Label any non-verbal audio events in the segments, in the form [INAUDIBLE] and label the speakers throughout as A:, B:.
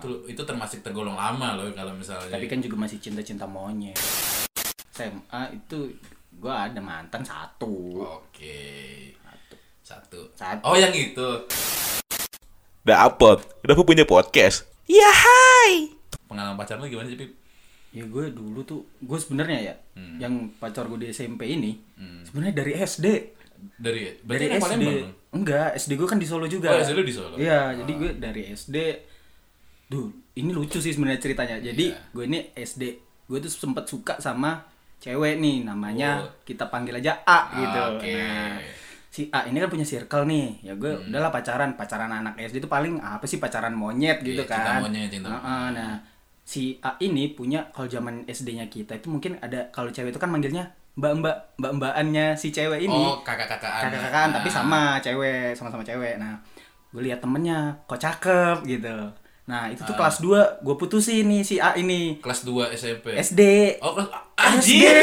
A: tuh itu termasuk tergolong lama loh kalau misalnya
B: Tapi kan juga masih cinta-cinta monyet. SMA itu gua ada mantan satu.
A: oke satu
B: Satu.
A: oh yang itu
C: Dapet. Udah aku punya podcast.
A: pengalaman pacar lu gimana sih Pip?
B: Ya gue dulu tuh, gue sebenarnya ya, yang pacar gue di SMP ini, sebenarnya dari SD.
A: dari
B: Dari
A: berarti dari
B: SD.
A: kan Palembang dong?
B: kan Enggak, SD gue kan di Solo juga.
A: Oh, SD lu di Solo? Ah.
B: Iya, jadi gue dari SD. Duh, ini lucu sih sebenarnya ceritanya.
A: Iya.
B: Jadi gue ini SD, gue tuh sempat suka sama cewek nih, namanya
A: Oh.
B: kita panggil aja A gitu.
A: oke. Hmm.
B: Nah, si A ini kan punya circle nih. Ya gue udahlah pacaran, pacaran anak SD itu paling apa sih pacaran monyet gitu
A: Iya, cinta
B: kan.
A: monyet, cinta
B: Heeh, nah, si A ini punya kalau zaman SD-nya kita itu mungkin ada kalau cewek itu kan manggilnya mbak-mbak, mbak-mbakannya si cewek ini
A: oh kakak-kakaan
B: kakak-kakaan tapi
A: Ah.
B: sama cewek sama-sama cewek nah gue lihat temennya kok cakep gitu nah itu
A: Ah.
B: tuh kelas 2 gue putusin nih si A ini
A: kelas 2 SMP
B: SD
A: oh kelas
B: [LAUGHS] SD
A: anjir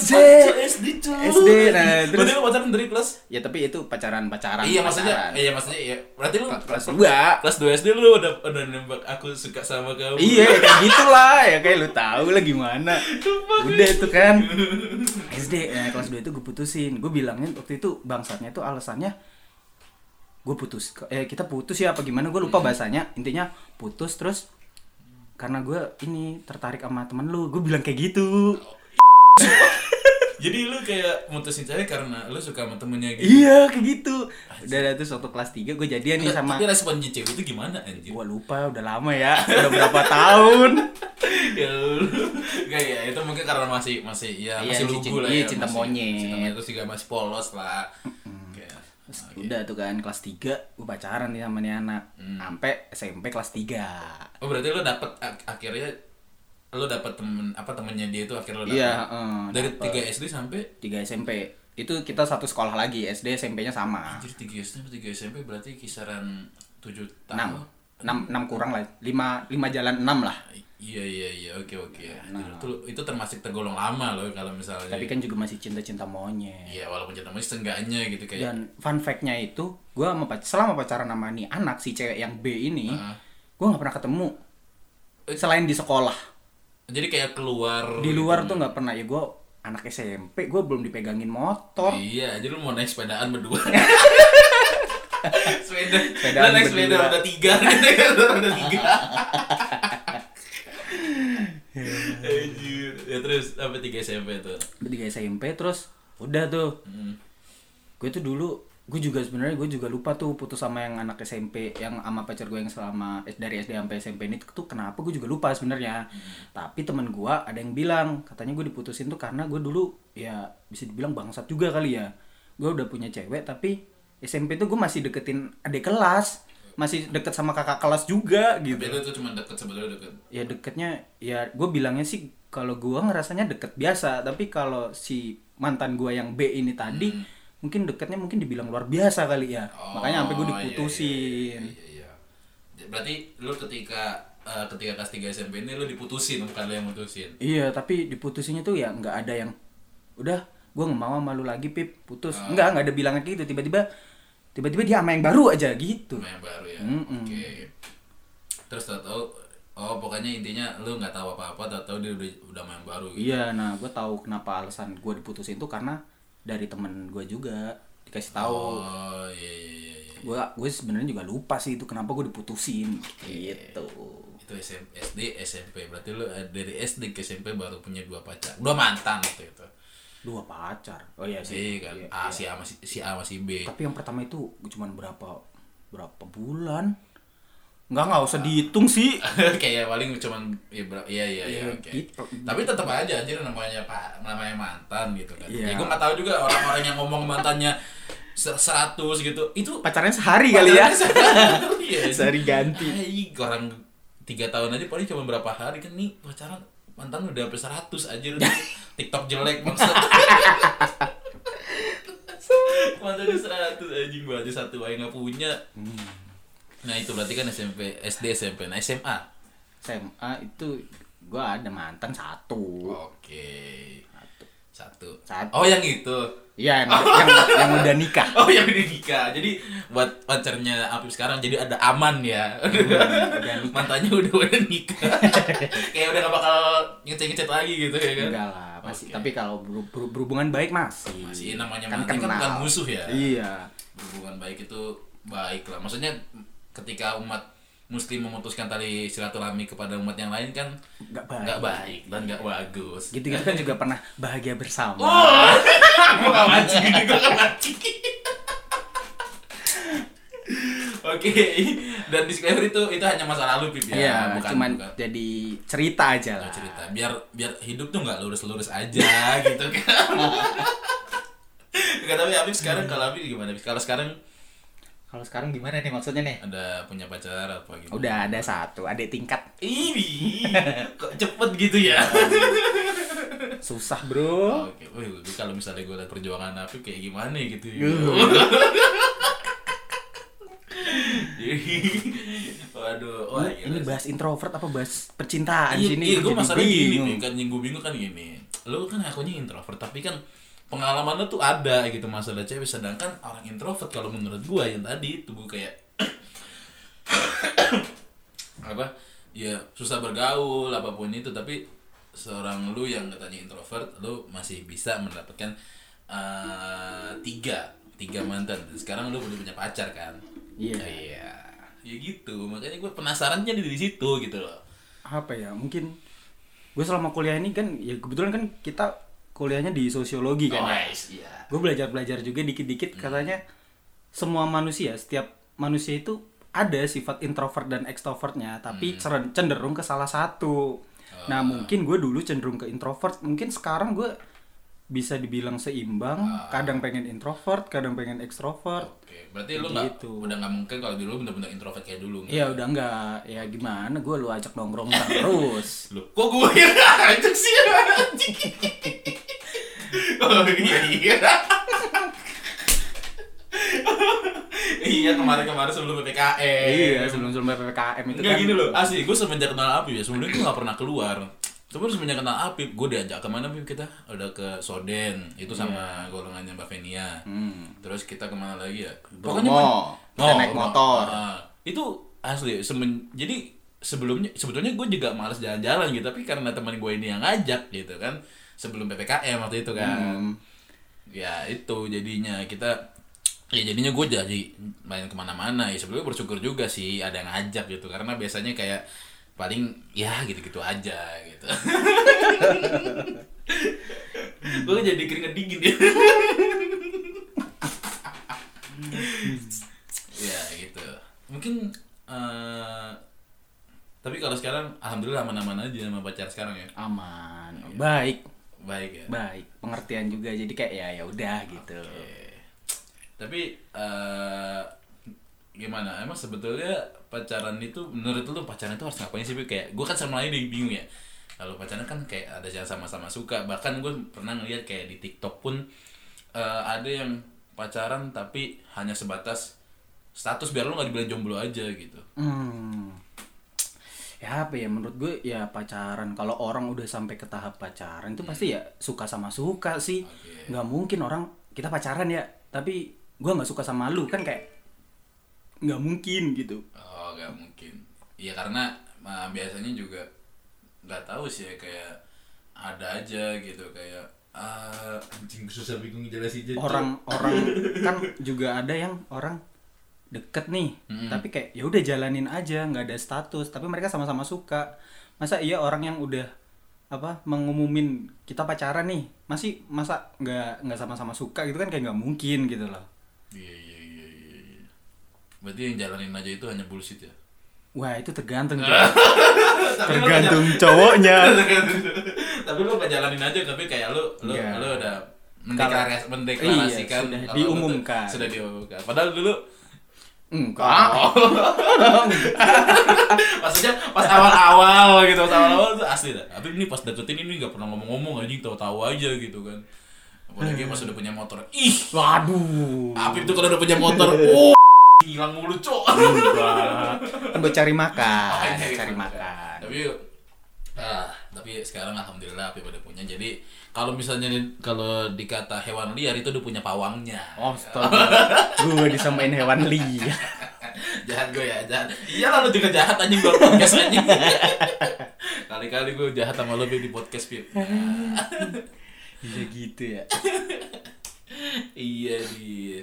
B: SD
A: SD tuh
B: SD, nah, terus-
A: berarti lu pacaran dari kelas
B: ya tapi itu pacaran pacaran
A: iya maksudnya iya maksudnya iya berarti lu
B: kelas 2
A: kelas 2 SD lu udah udah nembak aku suka sama kamu
B: iya kayak gitulah ya kayak lu tahu lah gimana udah itu kan SD nah, kelas 2 itu gue putusin gue bilangnya waktu itu bangsatnya itu alasannya gue putus eh kita putus ya apa gimana gue lupa bahasanya intinya putus terus karena gue ini tertarik sama temen lu gue bilang kayak gitu
A: jadi lu kayak mutusin cewek karena lu suka sama temennya gitu
B: iya kayak gitu udah udah, terus waktu kelas 3 gue jadian nih Iya, sama
A: tapi respon cewek itu gimana anjir
B: gue lupa udah lama ya udah berapa tahun
A: [LAUGHS] ya lu Nggak, ya itu mungkin karena masih masih ya
B: Iya,
A: masih
B: masih
A: lugu
B: cinta-
A: lah
B: iya,
A: ya
B: cinta
A: masih-
B: monyet.
A: cinta monyet terus juga masih polos lah Kayak,
B: Terus
A: oke. Hmm.
B: udah tuh kan kelas 3 gue pacaran nih sama nih anak sampai SMP kelas 3
A: oh berarti lu dapet ak- akhirnya lu dapet temen apa temennya dia itu akhirnya lu dapet
B: Iya, heeh,
A: dari
B: dapet.
A: tiga SD sampai
B: 3 SMP itu kita satu sekolah lagi SD SMP-nya sama
A: Anjir 3 SD sampai 3 SMP berarti kisaran 7 tahun.
B: 6 6, 6 kurang lah 5, 5 jalan 6 lah
A: Iya iya iya oke oke. Itu itu termasuk tergolong lama loh kalau misalnya.
B: tapi kan juga masih cinta-cinta monyet
A: Iya walaupun cinta monyet seenggaknya gitu kayak.
B: dan fun fact-nya itu gua sama pac- selama pacaran sama nih anak si cewek yang B ini gua nggak pernah ketemu
A: Eh.
B: selain di sekolah
A: Jadi kayak keluar gitu,
B: di luar tuh nggak pernah ya gua anak SMP gua belum dipegangin motor
A: Iya, jadi lu mau naik sepedaan berdua.
B: [LAUGHS]
A: sepeda. Lu
B: Sepedaan
A: naik sepeda
B: berdua.
A: roda tiga [LAUGHS] gitu kan, roda
B: [LAUGHS]
A: tiga. Anjir. Ya terus sampai 3 SMP tuh.
B: tiga SMP terus udah tuh gue tuh dulu gue juga sebenarnya gue juga lupa tuh putus sama yang anak SMP yang sama pacar gue yang selama eh, dari SD sampai SMP ini tuh kenapa gue juga lupa sebenarnya tapi teman gue ada yang bilang katanya gue diputusin tuh karena gue dulu ya bisa dibilang bangsat juga kali ya gue udah punya cewek tapi SMP tuh gue masih deketin adik kelas masih deket sama kakak kelas juga gitu
A: Tapi lu tuh cuma deket sebetulnya deket.
B: ya deketnya ya gue bilangnya sih kalau gue ngerasanya deket biasa tapi kalau si mantan gue yang B ini tadi
A: Hmm.
B: mungkin deketnya mungkin dibilang luar biasa kali ya makanya sampai gue
A: Oh, iya, iya,
B: diputusin
A: Iya, iya. Berarti lu ketika eh, ketika kelas 3 SMP ini lu diputusin bukan lu yang mutusin.
B: iya tapi diputusinnya tuh ya nggak ada yang udah gue nggak mau sama lu lagi pip putus
A: Ah.
B: nggak nggak ada bilangnya kayak gitu tiba-tiba tiba-tiba dia sama yang baru aja gitu
A: Sama yang baru ya. Oke. Terus tau tau oh pokoknya intinya lu nggak tahu apa-apa tau tau dia udah udah main baru gitu.
B: iya nah gue tahu kenapa alasan gue diputusin tuh karena dari temen gue juga dikasih tahu
A: Oh iya iya iya. iya.
B: gue gue sebenarnya juga lupa sih itu kenapa gue diputusin gitu
A: Itu SMP, SD, SMP. Berarti lu eh, dari SD ke SMP baru punya dua pacar. Dua mantan waktu itu.
B: dua pacar oh iya
A: Si
B: sih
A: kan A si A masih si A masih B. [LAUGHS]
B: tapi yang pertama itu cuman berapa berapa bulan nggak nggak usah dihitung sih
A: kayak paling cuman ya ber- iya iya iya
B: Iya,
A: oke.
B: gitu.
A: Tapi tetap aja anjir namanya Pak namanya mantan gitu kan. Ya
B: Iya.
A: gue nggak tahu juga orang-orang yang ngomong mantannya se- 100 gitu. Itu
B: pacarnya sehari kali ya [LAUGHS]
A: Iya.
B: Sehari ganti.
A: Ay, orang 3 tahun aja paling cuma berapa hari kan nih pacaran mantan udah sampai 100 aja
B: [LAUGHS]
A: TikTok jelek maksud. [LAUGHS] mantan 100 anjing gua aja satu aja nggak punya.
B: Hmm.
A: Nah itu berarti kan SMP, SD, SMP, nah SMA.
B: SMA itu gue
A: Oh.
B: ada mantan satu
A: Oke. Satu.
B: Satu.
A: Oh yang itu.
B: Iya, yang, yang, yang udah
A: [LAUGHS]
B: nikah.
A: Oh ya udah nikah. Jadi buat pacarnya Apip sekarang jadi ada aman ya. Mantannya udah udah
B: [LAUGHS]
A: nikah. Kayak udah gak bakal ngecet-ngecet lagi gitu ya kan.
B: Enggak lah, masih. Tapi kalau beru- beru- berhubungan baik masih.
A: Masih namanya
B: kan
A: mantan kan
B: kenal.
A: bukan musuh ya.
B: Iya.
A: Hubungan baik itu baik lah. Maksudnya ketika umat muslim memutuskan tali silaturahmi kepada umat yang lain kan
B: Enggak baik.
A: nggak baik dan nggak bagus.
B: Gitu gitu kan juga pernah bahagia bersama.
A: Oh, [LAUGHS] gua gak mancing, gua gak mancing. Oke, dan disclaimer itu itu hanya masa lalu Pip ya,
B: Iya,
A: bukan
B: cuman
A: bukan.
B: jadi cerita aja lah.
A: cerita. Biar biar hidup tuh nggak lurus-lurus aja [LAUGHS] gitu kan. Enggak tapi Habib sekarang kalau Habib gimana? Habib? Kalau sekarang
B: Kalau sekarang gimana nih maksudnya nih?
A: ada punya pacar apa gitu?
B: Udah ada satu, ada tingkat.
A: Ini kok cepet gitu ya?
B: Susah, Bro.
A: Oke, Oh, wih, gua- kalau misalnya gue liat perjuangan Afif kayak gimana ya gitu. [LAUGHS] Jadi, waduh, wah,
B: Ini- ini bahas introvert apa bahas percintaan
A: Iya,
B: sini?
A: iya, gue
B: Gua jadi
A: masalah gini
B: bingung.
A: nih, kan yang gue bingung kan gini. Lo kan akunya introvert, tapi kan pengalaman lo tuh ada gitu masalah cewek. Sedangkan orang introvert kalau menurut gue yang tadi itu gue kayak [COUGHS] apa ya susah bergaul apapun itu tapi seorang lu yang katanya introvert lu masih bisa mendapatkan eh, tiga tiga mantan Dan sekarang lu udah punya pacar kan
B: Iya.
A: iya ya gitu makanya gue penasaran jadi di situ gitu loh
B: apa ya mungkin gue selama kuliah ini kan ya kebetulan kan kita kuliahnya di sosiologi kan ya.
A: guys iya
B: gue belajar belajar juga dikit dikit
A: Hmm.
B: katanya semua manusia setiap manusia itu ada sifat introvert dan extrovertnya
A: Hmm.
B: tapi ceren- cenderung ke salah satu
A: Ah.
B: nah mungkin gue dulu cenderung ke introvert mungkin sekarang gue bisa dibilang seimbang
A: Ah.
B: kadang pengen introvert kadang pengen extrovert
A: oke berarti lu nggak
B: Gitu.
A: udah nggak mungkin kalau dulu bener-bener introvert kayak dulu nggak?
B: ya udah enggak ya gimana gue lu ajak nongkrong terus
A: [LAUGHS] Loh, kok gue yang ngajak sih anjing? Oh iya iya. iya kemarin-kemarin sebelum PPKM.
B: iya sebelum sebelum ppkm itu
A: Enggak
B: kan
A: Eh. gini loh, asli gue semenjak kenal Apip ya, sebelumnya gue gak pernah keluar Cuma semenjak kenal Apip, gue diajak kemana Apip kita? Udah ke Soden, itu sama
B: Iya.
A: golongannya Mbak Venia Terus kita kemana lagi ya?
B: Bromo.
A: Bromo,
B: Hmm. Kita naik
A: Bromo.
B: motor.
A: Ah, itu asli, semen, jadi sebelumnya sebetulnya gue juga males jalan-jalan gitu Tapi karena teman gue ini yang ngajak gitu kan Sebelum PPKM waktu itu
B: Hmm.
A: kan ya itu jadinya kita ya jadinya gue jadi main kemana-mana ya sebenarnya bersyukur juga sih ada yang ngajak gitu karena biasanya kayak paling ya gitu-gitu aja gitu [LAUGHS] gue jadi keringet dingin ya [LAUGHS] ya gitu mungkin eh, tapi kalau sekarang alhamdulillah aman-aman aja sama pacar sekarang ya
B: aman baik
A: baik ya
B: baik pengertian juga jadi kayak ya ya udah gitu
A: Oke. Tapi eh, gimana? Emang sebetulnya pacaran itu menurut lu pacaran itu harus ngapain sih? Bi? Kayak gue kan sama lain bingung ya. Kalau pacaran kan kayak ada yang sama-sama suka. Bahkan gue pernah ngeliat kayak di TikTok pun eh, ada yang pacaran tapi hanya sebatas status biar lu nggak dibilang jomblo aja gitu.
B: hmm. ya apa ya menurut gue ya pacaran kalau orang udah sampai ke tahap pacaran itu pasti ya suka sama suka sih
A: Oke.
B: nggak mungkin orang kita pacaran ya tapi gue nggak suka sama lu kan kayak nggak mungkin gitu
A: Oh, gak mungkin. Iya karena nah, biasanya juga nggak tahu sih ya, kayak ada aja gitu kayak ah anjing susah bingung jelasin aja.
B: orang orang kan juga ada yang orang deket nih tapi kayak ya udah jalanin aja nggak ada status tapi mereka sama-sama suka masa iya orang yang udah apa mengumumin kita pacaran nih masih masa nggak nggak sama-sama suka gitu kan kayak nggak mungkin gitu loh
A: Iya iya iya iya. iya. Berarti yang jalanin aja itu hanya bullshit ya.
B: wah itu tergantung [LAUGHS]
A: Tergantung.
B: cowoknya
A: [LAUGHS] tapi lu nggak jalanin aja tapi kayak lu lu
B: Iya.
A: lu udah mendeklarasi- mendeklarasikan kalau
B: Iya, sudah
A: lu tuh-
B: diumumkan.
A: Sudah diumumkan. Padahal dulu
B: enggak
A: maksudnya pas awal-awal gitu pas awal-awal tuh asli dah tapi ini pas deketin ini nggak pernah ngomong-ngomong anjing tahu-tahu aja gitu kan apalagi pas udah punya motor ih
B: waduh
A: Apip tuh kalau udah punya
B: [LAUGHS]
A: motor oh hilang mulu cok [LAUGHS] gitu
B: kan buat Iya, cari makan
A: Oke,
B: cari
A: oke.
B: makan
A: tapi ah, tapi sekarang alhamdulillah Apip udah punya jadi kalau misalnya di- kalau dikata hewan liar itu udah punya pawangnya
B: Astaga, gue Oh, disamain hewan liar.
A: [LAUGHS] jahat gue ya jahat iya lah lu juga jahat anjing buat podcast
B: [LAUGHS]
A: anjing kali-kali gue jahat sama lu Pi, di podcast Pi.
B: [LAUGHS] [LAUGHS] Iya gitu ya.
A: iya di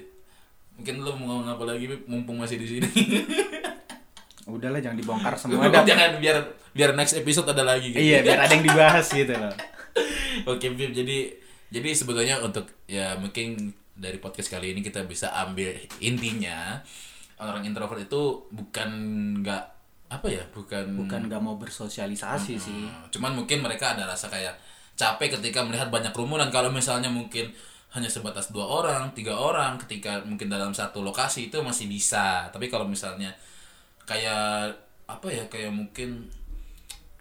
A: mungkin lu mau ngomong apa lagi Pi, mumpung masih di sini
B: [LAUGHS] Udahlah jangan
A: [LAUGHS]
B: dibongkar
A: Lu
B: semua dah.
A: jangan biar biar next episode ada lagi gitu.
B: Iya, biar ada yang dibahas gitu loh.
A: [LAUGHS] Oke, Bib. Jadi jadi sebetulnya untuk ya mungkin dari podcast kali ini kita bisa ambil intinya orang introvert itu bukan nggak apa ya, bukan
B: Bukan gak mau bersosialisasi
A: Hmm.
B: sih.
A: cuman mungkin mereka ada rasa kayak capek ketika melihat banyak kerumunan kalau misalnya mungkin hanya sebatas dua orang tiga orang ketika mungkin dalam satu lokasi itu masih bisa tapi kalau misalnya kayak apa ya kayak mungkin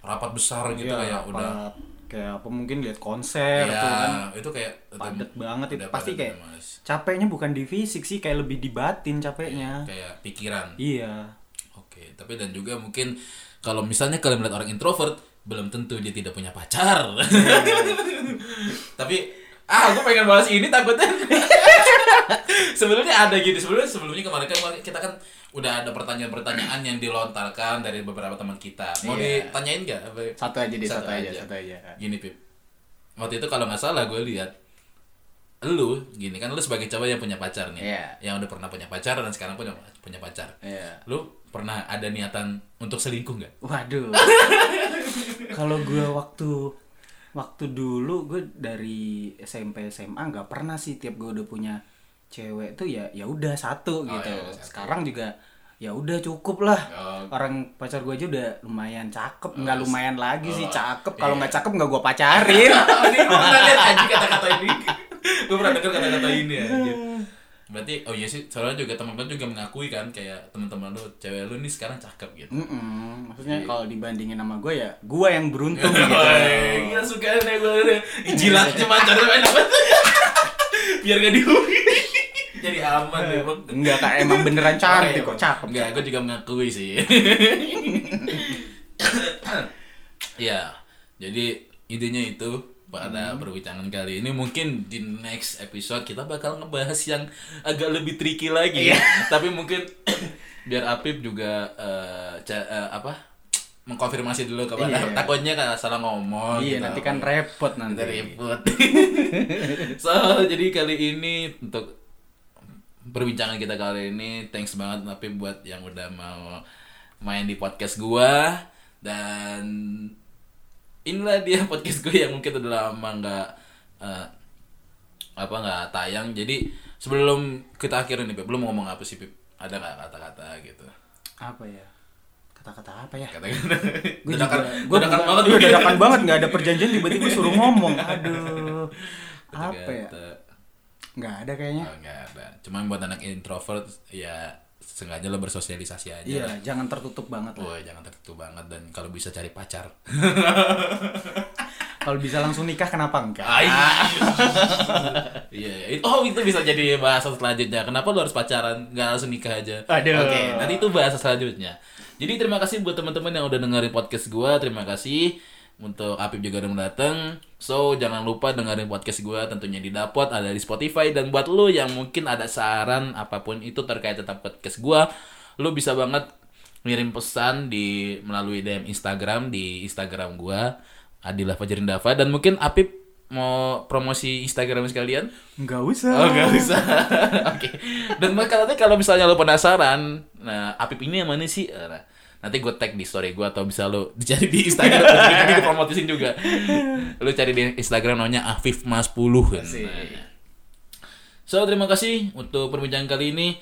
A: rapat besar gitu
B: Iya,
A: kayak
B: apa-
A: udah
B: kayak apa mungkin lihat konser
A: ya
B: tuh kan.
A: itu kayak
B: Padet banget itu
A: udah
B: pasti
A: padet,
B: kayak
A: udah males.
B: capeknya bukan di fisik sih, kayak lebih di batin capeknya.
A: kayak pikiran
B: Iya.
A: Oke, tapi dan juga mungkin kalau misalnya kalian melihat orang introvert, belum tentu dia tidak punya pacar. [LAUGHS] tapi ah, aku pengen bahas ini takutnya. [LAUGHS] sebenarnya ada gitu, sebelumnya sebelumnya kemarin kan kita kan udah ada pertanyaan-pertanyaan yang dilontarkan dari beberapa teman kita. Mau
B: Iya.
A: ditanyain nggak? Apa-
B: Satu aja deh,
A: Satu
B: satu, aja,
A: aja.
B: satu aja.
A: Gini Pip, waktu itu kalau nggak salah gue lihat lu gini kan lu sebagai cowok yang punya pacar nih,
B: Iya.
A: yang udah pernah punya pacar dan sekarang punya punya pacar
B: Iya.
A: lu pernah ada niatan untuk selingkuh nggak? [LAUGHS]
B: Waduh. Kalau gue waktu waktu dulu gue dari SMP SMA nggak pernah sih tiap gue udah punya cewek tuh ya ya udah satu gitu.
A: ya udah satu.
B: Sekarang juga ya udah cukup lah.
A: Oh.
B: Orang pacar gue aja udah lumayan cakep, nggak lumayan lagi sih
A: Ya, Oh,
B: cakep. Kalau
A: iya.
B: nggak cakep nggak gue
A: [LAUGHS]
B: pacarin.
A: ini gue pernah lihat anjing kata-kata ini. gue pernah dengar kata-kata ini anjir. Berarti oh iya sih, soalnya juga teman-teman juga mengakui kan kayak teman-teman lu cewek lu nih sekarang cakep gitu.
B: Mm-mm. Maksudnya
A: Iya.
B: kalau dibandingin sama gue ya gue yang
A: [LAUGHS]
B: beruntung
A: Oh,
B: gitu.
A: Woi, Gila suka deh gue Jilat cuma cari main apa [LAUGHS] Biar gak dihubungi Jadi aman deh bang
B: Enggak kak emang beneran
A: Iya,
B: cantik kok cakep.
A: Enggak, gue juga mengakui
B: [COUGHS]
A: sih. ya, jadi idenya itu pada
B: Hmm.
A: perbincangan kali ini mungkin di next episode kita bakal ngebahas yang agak lebih tricky lagi.
B: Iya.
A: [COUGHS] Tapi mungkin biar Apip juga eh, ca- eh, apa mengkonfirmasi dulu kepada
B: Iya.
A: takutnya kalau salah ngomong.
B: Iya
A: gitu.
B: nanti kan repot nanti.
A: Kita ribut. [LAUGHS] so, jadi kali ini untuk perbincangan kita kali ini thanks banget tapi buat yang udah mau main di podcast gua dan inilah dia [LAUGHS] podcast gue yang mungkin udah lama nggak eh, apa nggak tayang jadi sebelum kita akhirin nih Pip, belum ngomong apa sih Pip ada nggak kata-kata gitu
B: apa ya kata-kata apa ya
A: kata-kata
B: gue juga
A: Dadakan-
B: gue
A: dadakan
B: banget
A: banget
B: gue dadakan banget nggak ada perjanjian tiba-tiba suruh ngomong
A: [LAUGHS]
B: aduh apa ya
A: Kata-kata.
B: nggak ada kayaknya
A: Oh, enggak ada. Cuman buat anak introvert ya sengaja lo bersosialisasi aja.
B: iya
A: lah.
B: jangan tertutup banget lah
A: Woi, jangan tertutup banget dan kalau bisa cari [LAUGHS] pacar.
B: kalau bisa langsung nikah kenapa enggak
A: Ai. Iya, iya. Itu- oh itu bisa jadi bahasa selanjutnya. Kenapa lo harus pacaran, nggak langsung nikah aja?
B: Aduh.
A: Oke, nanti itu bahasa selanjutnya. Jadi terima kasih buat teman-teman yang udah dengerin podcast gua. Terima kasih untuk Apip juga udah mau datang. So, jangan lupa dengerin podcast gua tentunya di Dapot, ada di Spotify dan buat lo yang mungkin ada saran apapun itu terkait tentang podcast gua, lo bisa banget ngirim pesan di melalui DM Instagram di Instagram gua Adila Fajrindava dan mungkin Apip mau promosi Instagram sekalian.
B: nggak usah
A: Oh nggak usah. [LAUGHS] Oke. Dan maka nanti kalau misalnya lo penasaran, nah Apip ini yang mana sih? Eh, Nah, nanti gue tag di story gue atau bisa lo [LAUGHS] dicari di Instagram. Nanti gue promotisin juga. Lo cari di Instagram namanya Afif Mas 10 kan.
B: Asik.
A: Nah. So terima kasih untuk perbincangan kali ini.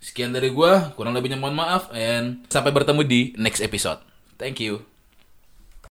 A: Sekian dari gue, kurang lebihnya mohon maaf and sampai bertemu di next episode. Thank you.